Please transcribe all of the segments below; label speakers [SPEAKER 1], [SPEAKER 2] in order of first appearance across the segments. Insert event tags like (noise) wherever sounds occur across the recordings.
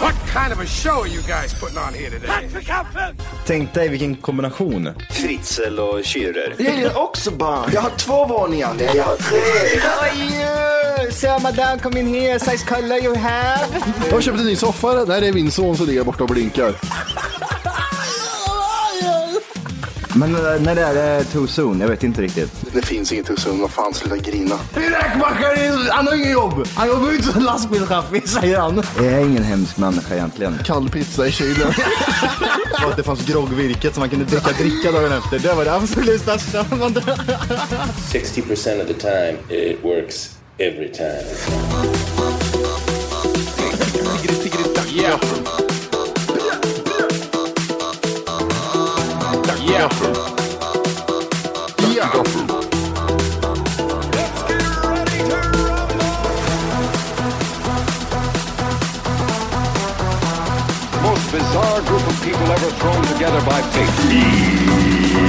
[SPEAKER 1] What kind of a show are you guys putting on here today?
[SPEAKER 2] Tänk dig vilken kombination.
[SPEAKER 3] Fritzl och Schürrer.
[SPEAKER 4] Jag är också barn. Jag har två våningar. Nej, jag har tre.
[SPEAKER 2] Sir, madame, come in here. Size color you have.
[SPEAKER 5] Jag har köpt en ny soffa. Nej, det är min son som ligger borta och blinkar.
[SPEAKER 2] Men eh, när det är det too soon? Jag vet inte riktigt.
[SPEAKER 4] Det finns inget hus vad fan, sluta grina.
[SPEAKER 2] Räkmackare, han har inget jobb. Han jobbar ju inte som lastbilschaffis, säger han. Jag är ingen hemsk människa egentligen.
[SPEAKER 5] Kall pizza i kylen. (laughs)
[SPEAKER 2] Och att det fanns groggvirket som man kunde dricka dricka dagen efter. Det var det absolut största.
[SPEAKER 3] 60% of the time it works every time.
[SPEAKER 1] Yeah. Yeah.
[SPEAKER 5] ja.
[SPEAKER 1] Most bizarre group of people ever thrown together by fate.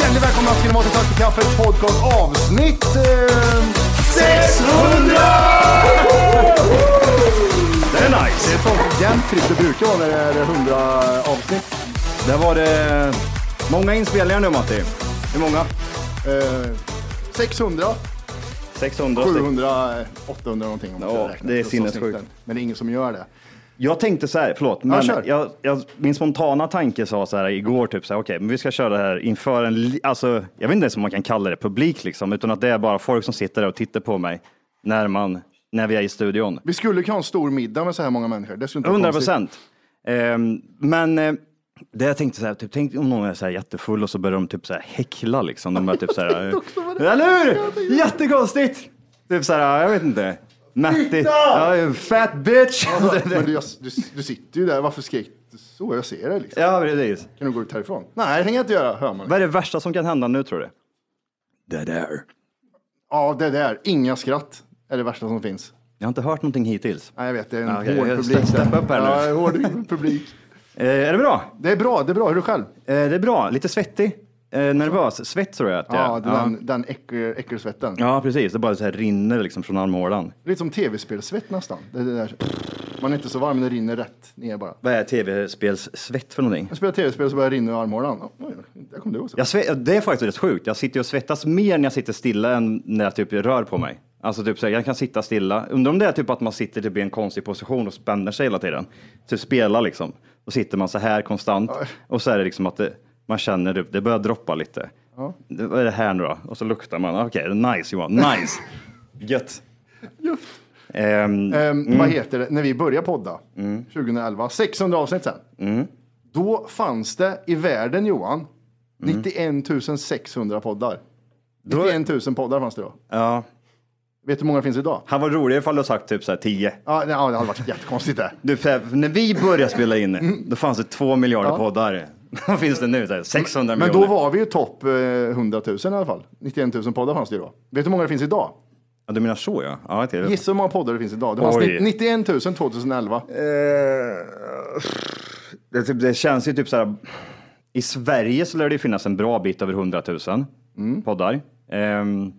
[SPEAKER 5] Hjärtligt välkomna ska ni vara till Tack för kaffet podcast avsnitt... Eh,
[SPEAKER 4] 600!
[SPEAKER 5] det är nice! Det är sånt jämnt tryck det brukar vara när det är 100 avsnitt.
[SPEAKER 2] Där var det många inspelningar nu, Matti.
[SPEAKER 5] Hur många? Eh, 600,
[SPEAKER 2] 600 stycken.
[SPEAKER 5] 700, eh, 800 någonting. Om
[SPEAKER 2] Ja,
[SPEAKER 5] jag räknar
[SPEAKER 2] det är
[SPEAKER 5] plus
[SPEAKER 2] sinnessjukt.
[SPEAKER 5] avsnitten. Men det är ingen som gör det.
[SPEAKER 2] Jag tänkte så här, förlåt, men
[SPEAKER 5] kör.
[SPEAKER 2] jag, jag, min spontana tanke sa så här igår, typ så här, okej, men vi ska köra det här inför en, li- alltså, jag vet inte ens om man kan kalla det publik liksom, utan att det är bara folk som sitter där och tittar på mig när man, när vi är i studion.
[SPEAKER 5] Vi skulle kunna ha en stor middag med så här många människor. Det skulle inte vara
[SPEAKER 2] 100
[SPEAKER 5] konstigt.
[SPEAKER 2] procent. men eh, det jag tänkte så här, typ, tänk om någon är så här jättefull och så börjar de typ så här häckla liksom. De är typ
[SPEAKER 5] (laughs)
[SPEAKER 2] så här, eh, eller hur? Jättekonstigt! Typ så här, jag vet inte. Matti, ja, fat bitch!
[SPEAKER 5] Men du, jag, du, du sitter ju där, varför skrek du så? Jag ser dig liksom.
[SPEAKER 2] (laughs) ja, precis.
[SPEAKER 5] Kan du gå ut härifrån? Nej, det kan jag inte göra, hör man.
[SPEAKER 2] Vad är det värsta som kan hända nu tror du? Det där.
[SPEAKER 5] Ja, det där, inga skratt är det värsta som finns.
[SPEAKER 2] Jag har inte hört någonting hittills. Eh,
[SPEAKER 5] Nej, jag vet, det är en
[SPEAKER 2] Ja, okej,
[SPEAKER 5] hård
[SPEAKER 2] jag
[SPEAKER 5] publik.
[SPEAKER 2] step- step up här nu.
[SPEAKER 5] Ja, en
[SPEAKER 2] (laughs)
[SPEAKER 5] hård publik.
[SPEAKER 2] Eh, är det bra?
[SPEAKER 5] Det är bra, det är bra. Hur är du själv?
[SPEAKER 2] Eh, det är bra. Lite svettig. Eh, nervös. Svett tror jag att jag är.
[SPEAKER 5] Ja, det är den, den äckel, äckelsvetten.
[SPEAKER 2] ja, precis. Det bara så här rinner liksom från armhålan.
[SPEAKER 5] Lite som tv-spelsvett nästan. Det, är det där. Man är inte så varm, men det rinner rätt ner bara.
[SPEAKER 2] Vad är tv-spelssvett för någonting?
[SPEAKER 5] Jag spelar tv-spel så börjar det rinna ur armhålan. Oj, där kom du också.
[SPEAKER 2] Jag sve- det är faktiskt rätt sjukt. Jag sitter ju och svettas mer när jag sitter stilla än när jag typ rör på mig. Alltså typ så här, jag kan sitta stilla. Undrar om det är typ att man sitter typ i en konstig position och spänner sig hela tiden. Typ spelar liksom. Då sitter man så här konstant och så är det liksom att det, man känner typ, det börjar droppa lite. Det, vad är det här nu då? Och så luktar man. Okej, nice Johan, nice. Gött. Ehm,
[SPEAKER 5] Ehm, Vad heter det? När vi började podda
[SPEAKER 2] Mm.
[SPEAKER 5] 2011, 600 avsnitt sen. Då fanns det i världen, Johan,
[SPEAKER 2] Mm.
[SPEAKER 5] 91 600 poddar. 91 000 poddar fanns det då.
[SPEAKER 2] ja.
[SPEAKER 5] Vet du hur många det finns idag?
[SPEAKER 2] Han var rolig ifall du sagt typ så här 10.
[SPEAKER 5] Ja, nej, ja, det hade varit jättekonstigt det.
[SPEAKER 2] Du, för när vi började spela in, då fanns det två miljarder poddar. (laughs) Vad finns det nu? Så här, 600
[SPEAKER 5] Men då
[SPEAKER 2] miljoner.
[SPEAKER 5] var vi ju topp eh, 100 000 i alla fall. 91 000 poddar fanns det ju då. Vet du hur många det finns idag?
[SPEAKER 2] Ja, du menar så ja. ja det är...
[SPEAKER 5] Gissa hur många poddar det finns idag. Det fanns
[SPEAKER 2] Oj.
[SPEAKER 5] 91 000 2011.
[SPEAKER 2] eh, det, är typ, det känns ju typ så här. I Sverige så lär det ju finnas en bra bit över 100 000 poddar. Ehm,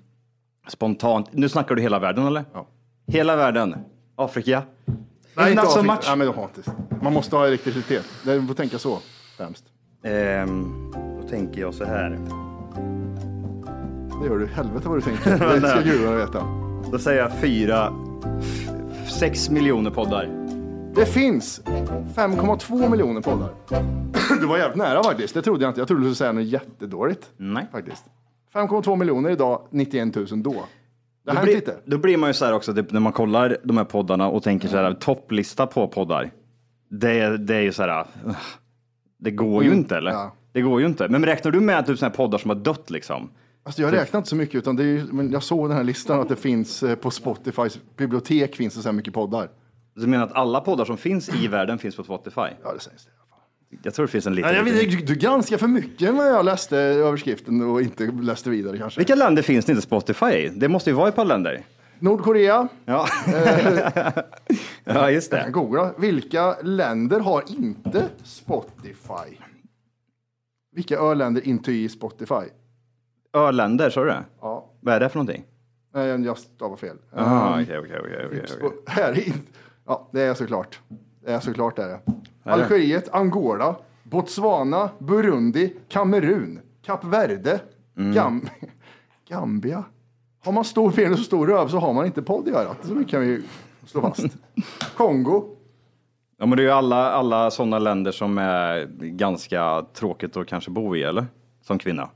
[SPEAKER 2] spontant. Nu snackar du hela världen eller?
[SPEAKER 5] Ja.
[SPEAKER 2] Hela världen. Afrika.
[SPEAKER 5] Nej,
[SPEAKER 2] Not so
[SPEAKER 5] Afrika.
[SPEAKER 2] much.
[SPEAKER 5] Nej, men det var inte. Man måste ha elektricitet. Det- Man får tänka så främst.
[SPEAKER 2] Ehm, då tänker jag så här.
[SPEAKER 5] Det gör du. Helvete vad du (laughs) tänker. Det ska gudarna veta.
[SPEAKER 2] Då säger jag fyra, f- f- sex miljoner poddar.
[SPEAKER 5] Det finns 5,2 miljoner poddar. (clears throat) Du var jävligt nära faktiskt. Det trodde jag inte. Jag trodde du skulle säga något jättedåligt.
[SPEAKER 2] Nej.
[SPEAKER 5] Faktiskt. 5,2 miljoner idag, 91 000 då. Det har
[SPEAKER 2] Då
[SPEAKER 5] hänt
[SPEAKER 2] blir,
[SPEAKER 5] lite.
[SPEAKER 2] då blir man ju så här också, typ, när man kollar de här poddarna och tänker så här, topplista på poddar. Det, är- det är ju så här, ugh, det går ju inte eller?
[SPEAKER 5] Mm. ja.
[SPEAKER 2] Det går ju inte. Men räknar du med typ sådana här poddar som har dött liksom?
[SPEAKER 5] Alltså jag räknar inte så mycket, utan det är ju, men jag såg den här listan att det finns eh, på Spotifys bibliotek finns det så här mycket poddar.
[SPEAKER 2] Du menar att alla poddar som finns i världen finns på Spotify?
[SPEAKER 5] Ja, det sägs det.
[SPEAKER 2] Jag tror det finns en liten...
[SPEAKER 5] Nej, jag vet, du, du granskar för mycket när jag läste överskriften och inte läste vidare kanske.
[SPEAKER 2] Vilka länder finns det inte Spotify i? Det måste ju vara ett par länder.
[SPEAKER 5] Nordkorea,
[SPEAKER 2] Ja,
[SPEAKER 5] Eh.
[SPEAKER 2] (laughs) ja just det.
[SPEAKER 5] jag googlar. Vilka länder har inte Spotify? Vilka öländer inte i Spotify?
[SPEAKER 2] Öländer, sa du det?
[SPEAKER 5] Ja,
[SPEAKER 2] Vad är det för någonting?
[SPEAKER 5] nej, jag stavar fel.
[SPEAKER 2] Jaha, okej, okej, okej, okej. okej.
[SPEAKER 5] Och Här är inte... Ja, det är såklart. Det är såklart det är det. Algeriet, Angola, Botswana, Burundi, Kamerun, Kap Verde, Gam... (laughs) Gambia. Har man stor penis och stor röv så har man inte podd i örat. Så det kan vi ju slå (laughs) fast. Kongo.
[SPEAKER 2] Ja, men det är ju alla, alla sådana länder som är ganska tråkigt att kanske bo i, eller? Som kvinna.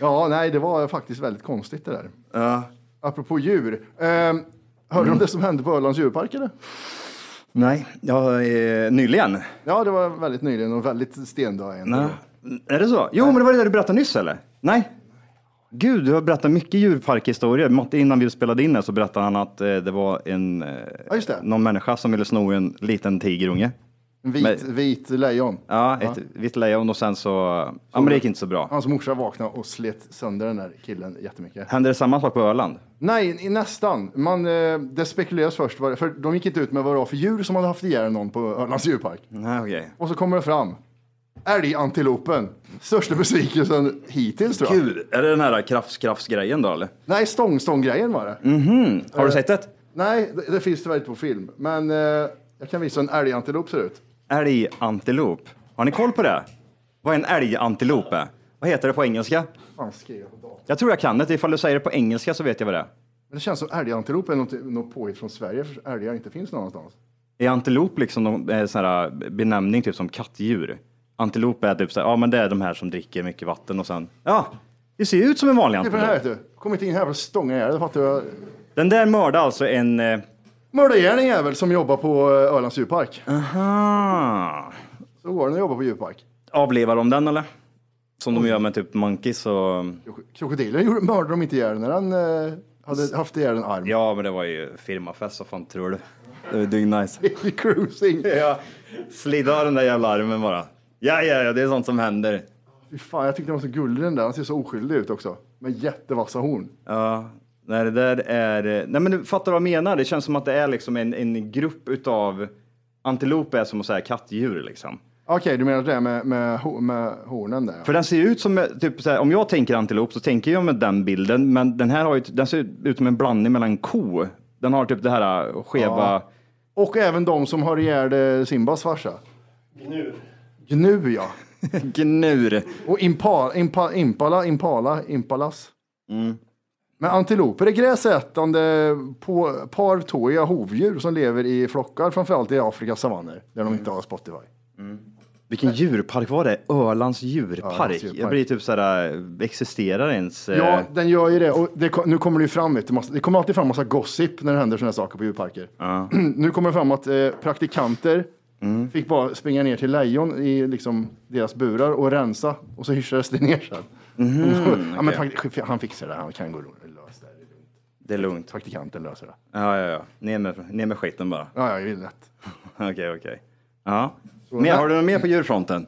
[SPEAKER 5] Ja, nej, det var faktiskt väldigt konstigt det där. Apropå djur. Ehm, hörde du om det som hände på Ölands djurpark eller?
[SPEAKER 2] Nej, ja, eh, nyligen.
[SPEAKER 5] Ja, det var väldigt nyligen och väldigt stendöende.
[SPEAKER 2] Nej. Är det så? Jo, men det var det där du berättade nyss, eller? Nej. Gud, du har berättat mycket djurparkhistorier. Matte, Innan vi spelade in det så berättade han att eh, det var en, eh,
[SPEAKER 5] Ja, just det.
[SPEAKER 2] någon människa som ville sno en liten tigerunge.
[SPEAKER 5] En vit,
[SPEAKER 2] Men-
[SPEAKER 5] vit lejon.
[SPEAKER 2] Ja, ett vitt lejon och sen så... Ja, men det gick inte så bra.
[SPEAKER 5] Hans morsa vaknade och slet sönder den där killen jättemycket.
[SPEAKER 2] Hände det samma sak på Öland?
[SPEAKER 5] Nej, i- nästan. Man, eh, det spekuleras först, vad det- för de gick inte ut med vad det var för djur som hade haft ihjäl någon på Ölands djurpark.
[SPEAKER 2] Nej, okej.
[SPEAKER 5] Och så kommer det fram. Älgantilopen. Största besvikelsen hittills tror jag.
[SPEAKER 2] Gud, är det den här kraftskraftsgrejen då, eller?
[SPEAKER 5] Nej, stång-stång-grejen var det.
[SPEAKER 2] Har du sett det?
[SPEAKER 5] Nej, det, det finns tyvärr inte på film. Men eh, jag kan visa hur en älgantilop ser ut.
[SPEAKER 2] Älgantilop. Har ni koll på det? Vad är en älgantilop är? Vad heter det på engelska?
[SPEAKER 5] Fan, skrev jag på datorn.
[SPEAKER 2] Jag tror jag kan det. Ifall du säger det på engelska så vet jag vad det är.
[SPEAKER 5] Men det känns som älgantilop är något, något påhitt från Sverige, för älgar inte finns någonstans.
[SPEAKER 2] Är antilop liksom någon eh, sån här benämning typ som kattdjur? Antilop är typ så här, ja men det är de här som dricker mycket vatten och sen, ja, det ser ju ut som en vanlig
[SPEAKER 5] Det är på den här,
[SPEAKER 2] antilop.
[SPEAKER 5] vet du. Kom inte in här för att stånga ihjäl dig, fattar du?
[SPEAKER 2] Den där mördade alltså en, eh,
[SPEAKER 5] Mördargärning är en jävel som jobbar på eh, Ölands djurpark.
[SPEAKER 2] aha,
[SPEAKER 5] Så går den och jobbar på djurpark.
[SPEAKER 2] avlevar de den eller? Som de gör med typ monkeys och,
[SPEAKER 5] Krok- Krokodilen gjorde- mördade de inte ihjäl när den eh, hade haft ihjäl en arm.
[SPEAKER 2] ja men det var ju firmafest, vad fan tror du? Det var ju nice.
[SPEAKER 5] (laughs) I cruising.
[SPEAKER 2] (laughs) Ja, slida av den där jävla armen bara. Ja, ja, ja, det är sånt som händer.
[SPEAKER 5] Fy fan, jag tyckte den var så gullig den där. Den ser så oskyldig ut också. Med jättevassa horn.
[SPEAKER 2] Ja, nej, det där är... Nej, men du fattar vad jag menar. Det känns som att det är liksom en, en grupp utav... Antilop är som att säga kattdjur liksom.
[SPEAKER 5] Okej, du menar det där med, med, ho- med hornen där? ja.
[SPEAKER 2] För den ser ju ut som, typ så här, om jag tänker antilop så tänker jag med den bilden, men den här har ju, den ser ut som en blandning mellan ko. Den har typ det här skeva,
[SPEAKER 5] Och även de som har ihjäl eh, Simbas farsa. Gnu. Gnu, ja.
[SPEAKER 2] (laughs) gnur.
[SPEAKER 5] Och impala, impa, impala, impala, impalas. Men antiloper är gräsätande på partåiga hovdjur som lever i flockar, framförallt i Afrikas savanner, där de inte har Spotify.
[SPEAKER 2] Vilken djurpark var det? Ölands djurpark.
[SPEAKER 5] Ölands djurpark.
[SPEAKER 2] Jag blir typ så här, existerar ens? eh,
[SPEAKER 5] Ja, den gör ju det. Och det ko- nu kommer det ju fram, vet du, massa, det kommer alltid fram massa gossip när det händer sådana här saker på djurparker. (clears throat) nu kommer det fram att eh, praktikanter
[SPEAKER 2] Mm.
[SPEAKER 5] fick bara springa ner till lejon i liksom, deras burar och rensa och så hyschades det ner sen.
[SPEAKER 2] Mhm,
[SPEAKER 5] (laughs) ja, men praktik- han fixar det, han kan gå runt och lösa det.
[SPEAKER 2] Det är lugnt.
[SPEAKER 5] Praktikanten löser det.
[SPEAKER 2] Ja, ja, ja. Ner med, ner med skiten bara. (laughs)
[SPEAKER 5] Ja, ja, det är lätt.
[SPEAKER 2] Okej, okej. Ja. Mer, har du något mer på djurfronten?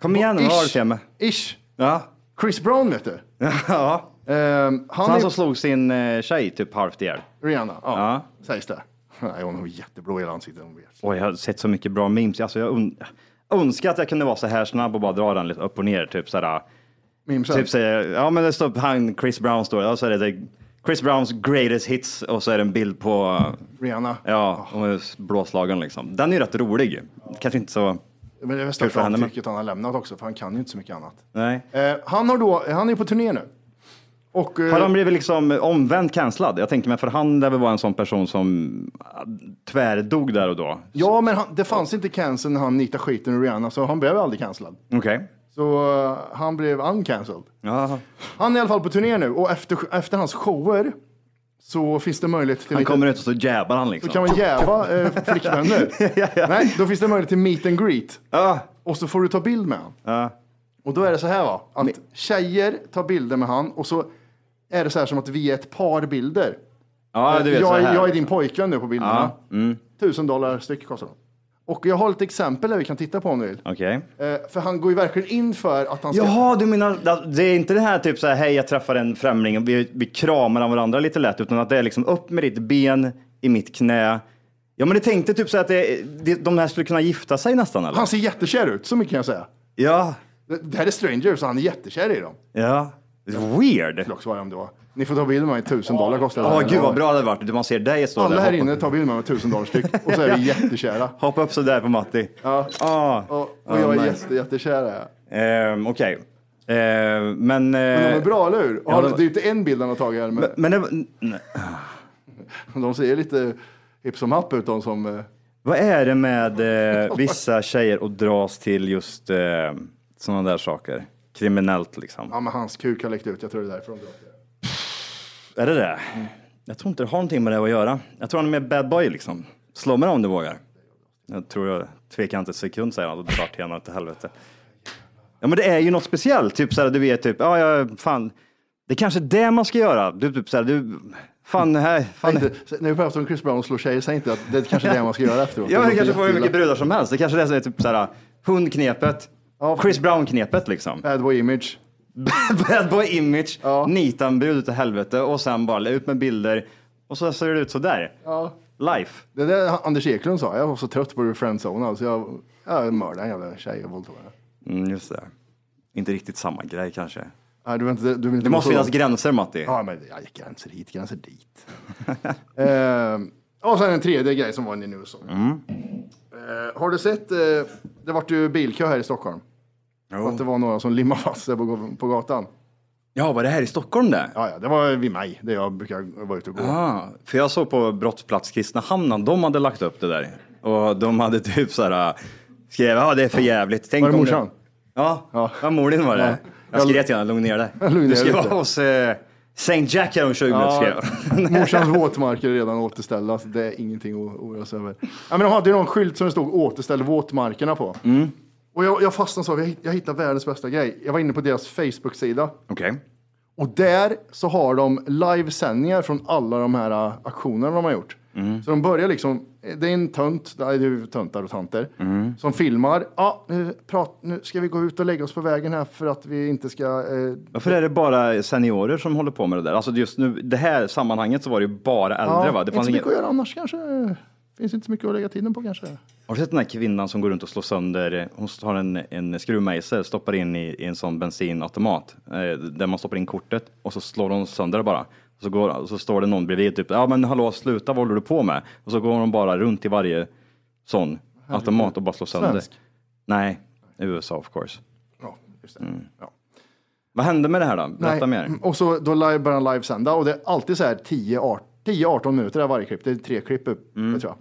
[SPEAKER 2] Kom igen nu, vad har du till mig?
[SPEAKER 5] Ish.
[SPEAKER 2] Ja. (laughs)
[SPEAKER 5] Chris Brown vet du.
[SPEAKER 2] ja.
[SPEAKER 5] Ehm, han
[SPEAKER 2] Han
[SPEAKER 5] är
[SPEAKER 2] som slog sin eh, tjej typ halvt ihjäl.
[SPEAKER 5] Rihanna, ja,
[SPEAKER 2] Ja.
[SPEAKER 5] sägs det. (laughs) Nej, hon har jätteblå i hela ansiktet. Hon vet.
[SPEAKER 2] Oj, jag har sett så mycket bra memes. Alltså, jag un- önskar att jag kunde vara så här snabb och bara dra den lite upp och ner. Typ såhär.
[SPEAKER 5] Mimsen.
[SPEAKER 2] Typ säger, ja men det står han Chris Brown står där och så är det Chris Browns greatest hits och så är det en bild på,
[SPEAKER 5] Rihanna.
[SPEAKER 2] ja, hon är blåslagen liksom. Den är ju rätt rolig. Kanske inte så,
[SPEAKER 5] Men det är väl
[SPEAKER 2] Kul för
[SPEAKER 5] största
[SPEAKER 2] henne, men-
[SPEAKER 5] avtrycket han har lämnat också, för han kan ju inte så mycket annat.
[SPEAKER 2] nej.
[SPEAKER 5] Eh, han, har då, han är på turné nu. Och, eh,
[SPEAKER 2] Har han blivit liksom omvänt cancellad? Jag tänker mig, för han lär väl vara en sån person som ah, tvärdog där och då.
[SPEAKER 5] Ja, men han, det fanns inte cancel när han nitade skiten ur Rihanna, så han blev aldrig cancellad.
[SPEAKER 2] Okej.
[SPEAKER 5] Så eh, han blev uncancelled.
[SPEAKER 2] Ja.
[SPEAKER 5] Han är i alla fall på turné nu och efter, efter hans shower så finns det möjlighet till
[SPEAKER 2] Han
[SPEAKER 5] lite-
[SPEAKER 2] kommer ut och så jabbar han
[SPEAKER 5] Då
[SPEAKER 2] liksom. (laughs)
[SPEAKER 5] kan man jäva eh, flickvänner. Nej, då finns det möjlighet till meet and greet.
[SPEAKER 2] Ja,
[SPEAKER 5] Och så får du ta bild med han.
[SPEAKER 2] Ja.
[SPEAKER 5] Och då är det så här va, att tjejer tar bilder med han och så är det så här som att vi är ett par bilder.
[SPEAKER 2] Ja, du vet så
[SPEAKER 5] jag, är,
[SPEAKER 2] här. mm.
[SPEAKER 5] jag är din pojkvän nu på bilderna. Tusen dollar styck kostar de. Och jag har ett exempel där vi kan titta på om du vill.
[SPEAKER 2] Okej.
[SPEAKER 5] Eh, för han går ju verkligen in för att han ska...
[SPEAKER 2] Jaha, du menar, det är inte det här typ så här, hej jag träffar en främling och vi, vi kramar av varandra lite lätt, utan att det är liksom upp med ditt ben i mitt knä. Ja, men det tänkte typ så här att det, det, de här skulle kunna gifta sig nästan eller?
[SPEAKER 5] Han ser jättekär ut, så mycket kan jag säga.
[SPEAKER 2] Ja,
[SPEAKER 5] Det- Det här är strangers så han är jättekär i dem.
[SPEAKER 2] ja. Weird.
[SPEAKER 5] Också vad det om det var. Ni får ta bild med mig, tusen dollar kostar det.
[SPEAKER 2] Ja,
[SPEAKER 5] här.
[SPEAKER 2] gud vad bra det hade varit. Man ser dig stå
[SPEAKER 5] Alla
[SPEAKER 2] där.
[SPEAKER 5] här
[SPEAKER 2] hoppa-
[SPEAKER 5] inne tar bild med mig, tusen dollar styck. Och så är
[SPEAKER 2] (laughs)
[SPEAKER 5] vi jättekära.
[SPEAKER 2] Hoppa upp sådär på Matti.
[SPEAKER 5] Ja.
[SPEAKER 2] Ah.
[SPEAKER 5] Och, och jag är
[SPEAKER 2] nice.
[SPEAKER 5] jätte, jättekär är jag.
[SPEAKER 2] Ehm, Okej. Ehm, men...
[SPEAKER 5] Men de är
[SPEAKER 2] eh,
[SPEAKER 5] bra, eller hur? Och
[SPEAKER 2] ja,
[SPEAKER 5] han-
[SPEAKER 2] de-
[SPEAKER 5] det är ju inte en bild han har tagit här, men
[SPEAKER 2] Men det, nej.
[SPEAKER 5] de ser lite hipp som happ ut de som... eh,
[SPEAKER 2] vad är det med eh, vissa tjejer att dras till just eh, sådana där saker? Kriminellt liksom.
[SPEAKER 5] Ja, men hans kuk har läckt ut, jag tror det är därför de drar till det.
[SPEAKER 2] Är det det? Jag tror inte det har någonting med det att göra. Jag tror han är mer bad boy liksom. Slå mig om du vågar. Jag tror jag tvekar inte en sekund säger han och drar till henne till helvete. Ja men det är ju något speciellt. Typ såhär du vet typ, ja ja fan. Det är kanske är det man ska göra. Du typ såhär du, fan här, fan.
[SPEAKER 5] Säg inte- när vi pratar om Chris Brown och slår tjejer, säg inte att det är kanske är det man ska göra efteråt.
[SPEAKER 2] (laughs) Ja,
[SPEAKER 5] Det
[SPEAKER 2] men det
[SPEAKER 5] låter
[SPEAKER 2] kanske får hur mycket
[SPEAKER 5] jätteilla.
[SPEAKER 2] brudar som helst. Det kanske är det som är typ såhär hundknepet. Chris Brown-knepet liksom.
[SPEAKER 5] Bad boy image.
[SPEAKER 2] (laughs) Bad boy image,
[SPEAKER 5] Ja.
[SPEAKER 2] nita en brud utav helvete och sen bara ut med bilder och så ser det ut sådär.
[SPEAKER 5] Ja.
[SPEAKER 2] Life.
[SPEAKER 5] Det där Anders Eklund sa, jag var så trött på att bli friendzonad så jag, jag mördade en jävla tjej och våldtog henne.
[SPEAKER 2] Mm, just det. Inte riktigt samma grej kanske.
[SPEAKER 5] Nej, du vill inte, du vill inte
[SPEAKER 2] Det
[SPEAKER 5] gå
[SPEAKER 2] måste
[SPEAKER 5] så
[SPEAKER 2] finnas
[SPEAKER 5] långt.
[SPEAKER 2] gränser Matti.
[SPEAKER 5] Ja, men ja, gränser hit, gränser dit. (laughs) Ehm, och sen en tredje grej som var en news om.
[SPEAKER 2] Mm.
[SPEAKER 5] Eh, har du sett, eh, det vart ju bilkö här i Stockholm.
[SPEAKER 2] Jo.
[SPEAKER 5] Att det var några som limmade fast sig på, på gatan.
[SPEAKER 2] Ja, var det här i Stockholm det?
[SPEAKER 5] Ja, ja, det var vid mig, där jag brukar vara ute och gå.
[SPEAKER 2] Ah, för jag såg på brottsplats Kristinehamn, de hade lagt upp det där. Och de hade typ såhär, äh, skrev, ja det är för jävligt. Tänk
[SPEAKER 5] Var det
[SPEAKER 2] om
[SPEAKER 5] morsan?
[SPEAKER 2] Ja,
[SPEAKER 5] Ja.
[SPEAKER 2] ja. mor din var det.
[SPEAKER 5] Ja.
[SPEAKER 2] Jag skrev till henne, lugn ner dig.
[SPEAKER 5] Lugna ner
[SPEAKER 2] Du ska
[SPEAKER 5] dig
[SPEAKER 2] vara
[SPEAKER 5] lite.
[SPEAKER 2] hos eh, St. Jack här om 20 minuter, skrev (laughs) jag.
[SPEAKER 5] Morsans våtmarker är redan återställda, så det är ingenting att oroa sig över. Ja, men de hade ju någon skylt som det stod återställ våtmarkerna på.
[SPEAKER 2] Mm.
[SPEAKER 5] Och jag, jag fastnade så, jag, hitt- jag hittade världens bästa grej. Jag var inne på deras Facebook-sida.
[SPEAKER 2] Okej.
[SPEAKER 5] Och där så har de livesändningar från alla de här äh, aktionerna de har gjort. Så de börjar liksom, det är en tönt, nej det är ju töntar och tanter, som filmar. Ja, nu, prat, nu ska vi gå ut och lägga oss på vägen här för att vi inte ska... Eh,
[SPEAKER 2] Varför är det bara seniorer som håller på med det där? Alltså just nu, det här sammanhanget så var det ju bara äldre va? Det
[SPEAKER 5] inte så
[SPEAKER 2] fanns
[SPEAKER 5] mycket
[SPEAKER 2] ingen...
[SPEAKER 5] att göra annars kanske. Finns inte så mycket att lägga tiden på kanske.
[SPEAKER 2] Har du sett den här kvinnan som går runt och slår sönder, hon har en, en skruvmejsel, stoppar in i, i en sån bensinautomat eh, där man stoppar in kortet och så slår hon sönder det bara. Så, går, och så står det någon bredvid typ, ja men hallå sluta, vad håller du på med? Och så går hon bara runt i varje sån automat och bara slår sönder.
[SPEAKER 5] Svensk?
[SPEAKER 2] Nej, USA of course.
[SPEAKER 5] Ja, just det. Mm. Ja.
[SPEAKER 2] Vad hände med det här då? Berätta
[SPEAKER 5] Nej,
[SPEAKER 2] mer.
[SPEAKER 5] Och så då live, börjar han livesända och det är alltid så här 10 art- 10-18 minuter är varje klipp. Det är tre klipp upp,
[SPEAKER 2] Mm.
[SPEAKER 5] det tror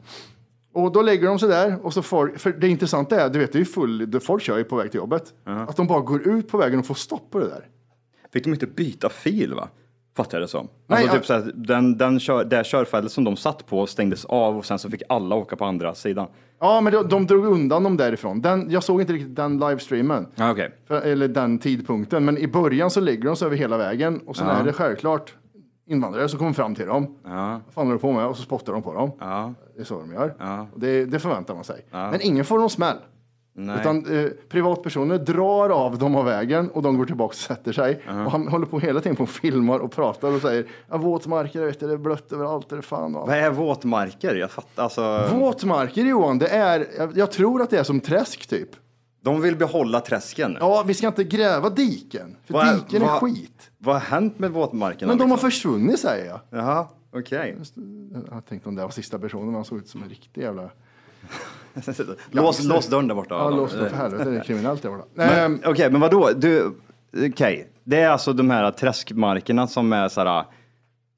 [SPEAKER 5] jag. Och då lägger de sig där och så får, för det intressanta är, du vet det är ju full, folk kör ju på väg till jobbet. Att de bara går ut på vägen och får stopp på det där.
[SPEAKER 2] Fick de inte byta fil va? Fattar jag det som.
[SPEAKER 5] Nej,
[SPEAKER 2] alltså,
[SPEAKER 5] ja.
[SPEAKER 2] typ så här, den, den kör, det körfältet som de satt på stängdes av och sen så fick alla åka på andra sidan.
[SPEAKER 5] Ja, men de, de drog undan dem därifrån. Den, jag såg inte riktigt den livestreamen.
[SPEAKER 2] Ja, okej.
[SPEAKER 5] För, eller den tidpunkten. Men i början så lägger de sig över hela vägen och sen är det självklart invandrare som kommer fram till dem. Vad fan håller du på med? Och så spottar de på dem. Det är så de gör. Och Det, det förväntar man sig. Men ingen får någon smäll. Utan eh, privatpersoner drar av dem av vägen och de går tillbaka och sätter sig. Och han håller på hela tiden på och filmar och pratar och säger ja, våtmarker, vet du, det är blött överallt, det är fan och allt.
[SPEAKER 2] Vad är våtmarker? Jag fattar alltså.
[SPEAKER 5] Våtmarker Johan, det är, jag, jag tror att det är som träsk typ.
[SPEAKER 2] De vill behålla träsken.
[SPEAKER 5] Ja, vi ska inte gräva diken, för
[SPEAKER 2] Vad-
[SPEAKER 5] diken är
[SPEAKER 2] vad-
[SPEAKER 5] skit.
[SPEAKER 2] Vad har hänt med våtmarkerna?
[SPEAKER 5] Men de har
[SPEAKER 2] liksom?
[SPEAKER 5] försvunnit säger jag.
[SPEAKER 2] Jaha, okej.
[SPEAKER 5] Jag tänkte om det var sista personen, men han såg ut som en riktig jävla...
[SPEAKER 2] (laughs) lås, lås dörren där borta.
[SPEAKER 5] Ja, Ehm. lås dem för helvete, det är kriminellt det var.
[SPEAKER 2] Men,
[SPEAKER 5] Men,
[SPEAKER 2] Okej, men vadå? Du, okej. Det är alltså de här träskmarkerna som är såhär,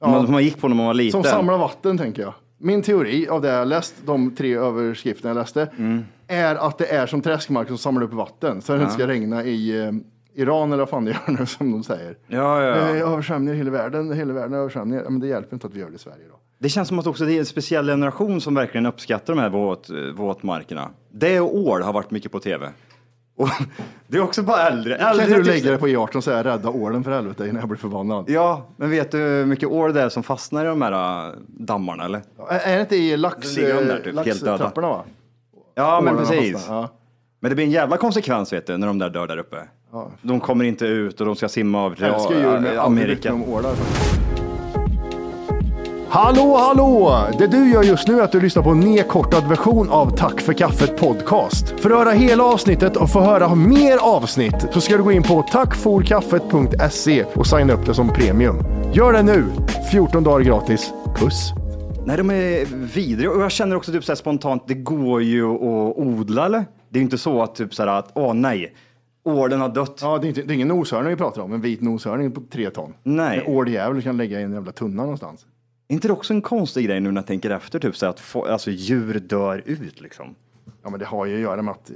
[SPEAKER 2] man, man gick på när man var liten.
[SPEAKER 5] som samlar vatten tänker jag. Min teori av det jag läst, de tre överskrifterna jag läste,
[SPEAKER 2] Mm.
[SPEAKER 5] är att det är som träskmark som samlar upp vatten så att det inte ska regna i eh, Iran eller vad fan det gör nu som de säger.
[SPEAKER 2] Ja, ja, ja.
[SPEAKER 5] Eh, Översvämningar i hela världen, hela världen är översvämningar. Ja, Men det hjälper inte att vi gör det i Sverige då.
[SPEAKER 2] Det känns som att också det är en speciell generation som verkligen uppskattar de här våt, våtmarkerna. Det och ål har varit mycket på tv. Och (laughs) det är också bara äldre.
[SPEAKER 5] Kan
[SPEAKER 2] äldre
[SPEAKER 5] inte du
[SPEAKER 2] typ-
[SPEAKER 5] lägga det på E18 och säga rädda ålen för helvete innan jag blir förbannad?
[SPEAKER 2] Ja, men vet du hur mycket år det är som fastnar i de här äh, dammarna eller?
[SPEAKER 5] Är är det inte i
[SPEAKER 2] Den
[SPEAKER 5] lax,
[SPEAKER 2] ligger under, typ,
[SPEAKER 5] eh,
[SPEAKER 2] helt döda.
[SPEAKER 5] laxtrapporna va?
[SPEAKER 2] Ja, men
[SPEAKER 5] Ålarna
[SPEAKER 2] precis.
[SPEAKER 5] fastnar, ja.
[SPEAKER 2] Men det blir en jävla konsekvens vet du, när de där dör där uppe. De kommer inte ut och de ska simma över till
[SPEAKER 5] Jag älskar djur, men jag har aldrig brytt mig
[SPEAKER 2] Amerika.
[SPEAKER 5] om ålar. Hallå, hallå! Det du gör just nu är att du lyssnar på en nedkortad version av Tack för kaffet podcast. För att höra hela avsnittet och få höra mer avsnitt så ska du gå in på tackforkaffet.se och signa upp det som premium. Gör det nu! 14 dagar gratis. Puss!
[SPEAKER 2] Nej, de är vidriga. Och jag känner också typ så här spontant, det går ju att odla eller? Det är ju inte så att typ så här att, åh nej, ålen har dött.
[SPEAKER 5] Ja, det är, inte, det är ingen noshörning vi pratar om, en vit noshörning på tre ton.
[SPEAKER 2] Nej.
[SPEAKER 5] En åljävel kan lägga i en jävla tunna någonstans.
[SPEAKER 2] Är inte det också en konstig grej nu när jag tänker efter, typ så här att få, alltså, djur dör ut liksom?
[SPEAKER 5] Ja, men det har ju att göra med att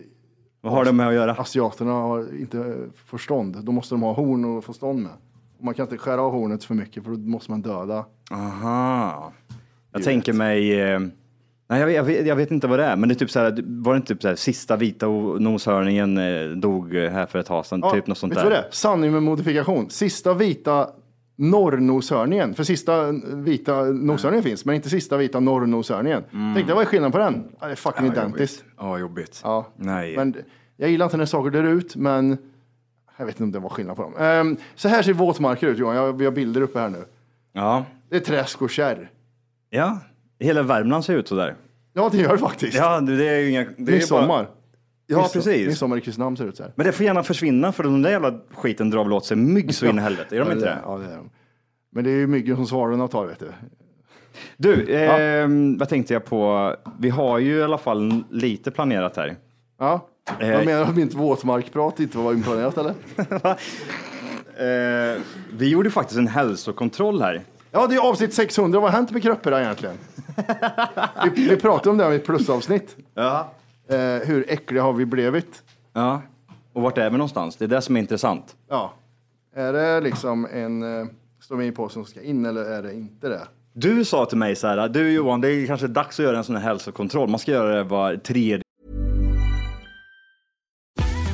[SPEAKER 2] Vad har det med att göra?
[SPEAKER 5] asiaterna har inte förstånd. Då måste de ha horn och få stånd med. Och man kan inte skära av hornet för mycket för då måste man döda.
[SPEAKER 2] Aha. Jag tänker mig... eh, Nej, jag vet, jag, vet, jag vet inte vad det är, men det är typ så här, var det inte typ så här, sista vita o- noshörningen eh, dog eh, här för ett tag sedan, typ något sånt
[SPEAKER 5] vet
[SPEAKER 2] där.
[SPEAKER 5] du vad det är? Sanning med modifikation. Sista vita norrnoshörningen. För sista eh, vita noshörningen finns, men inte sista vita norrnoshörningen.
[SPEAKER 2] Mm.
[SPEAKER 5] Tänk dig, vad är skillnaden på den? Ja, det är fucking identiskt.
[SPEAKER 2] Ja, jobbigt.
[SPEAKER 5] Ja.
[SPEAKER 2] Nej.
[SPEAKER 5] Men jag gillar inte när saker dör ut, men jag vet inte om det var skillnad på dem. Ehm, så här ser våtmarker ut Johan, jag, vi har bilder uppe här nu.
[SPEAKER 2] Ja.
[SPEAKER 5] Det är träsk och kärr.
[SPEAKER 2] ja, hela Värmland ser ut så där.
[SPEAKER 5] Ja, det gör det faktiskt.
[SPEAKER 2] Ja, det det är ju inga... Det är ju Bara,
[SPEAKER 5] Midsommar.
[SPEAKER 2] ja, precis.
[SPEAKER 5] Midsommar i Kristinehamn ser det ut så här.
[SPEAKER 2] Men det får gärna försvinna, för den där jävla skiten drar väl åt sig mygg så in i helvete, gör de inte det?
[SPEAKER 5] Ja, det är de. Men det är ju myggen som svalorna tar, vet du.
[SPEAKER 2] Du, ehm, vad tänkte jag på? Vi har ju i alla fall lite planerat här.
[SPEAKER 5] Ja.
[SPEAKER 2] Eh.
[SPEAKER 5] Jag menar att mitt våtmarkprat inte var inplanerat, eller?
[SPEAKER 2] Eh, vi gjorde faktiskt en hälsokontroll här.
[SPEAKER 5] Ja, det är avsnitt 600. Vad har hänt med Kröppera egentligen? vi, vi pratade om det här i ett plusavsnitt.
[SPEAKER 2] Ja.
[SPEAKER 5] Eh, hur äckliga har vi blivit?
[SPEAKER 2] Ja. Och vart är vi någonstans? Det är det som är intressant.
[SPEAKER 5] Ja. Är det liksom en eh, slå mig i påsen som ska in eller är det inte det?
[SPEAKER 2] Du sa till mig så här, du Johan, det är kanske dags att göra en sån här hälsokontroll. Man ska göra det var tredje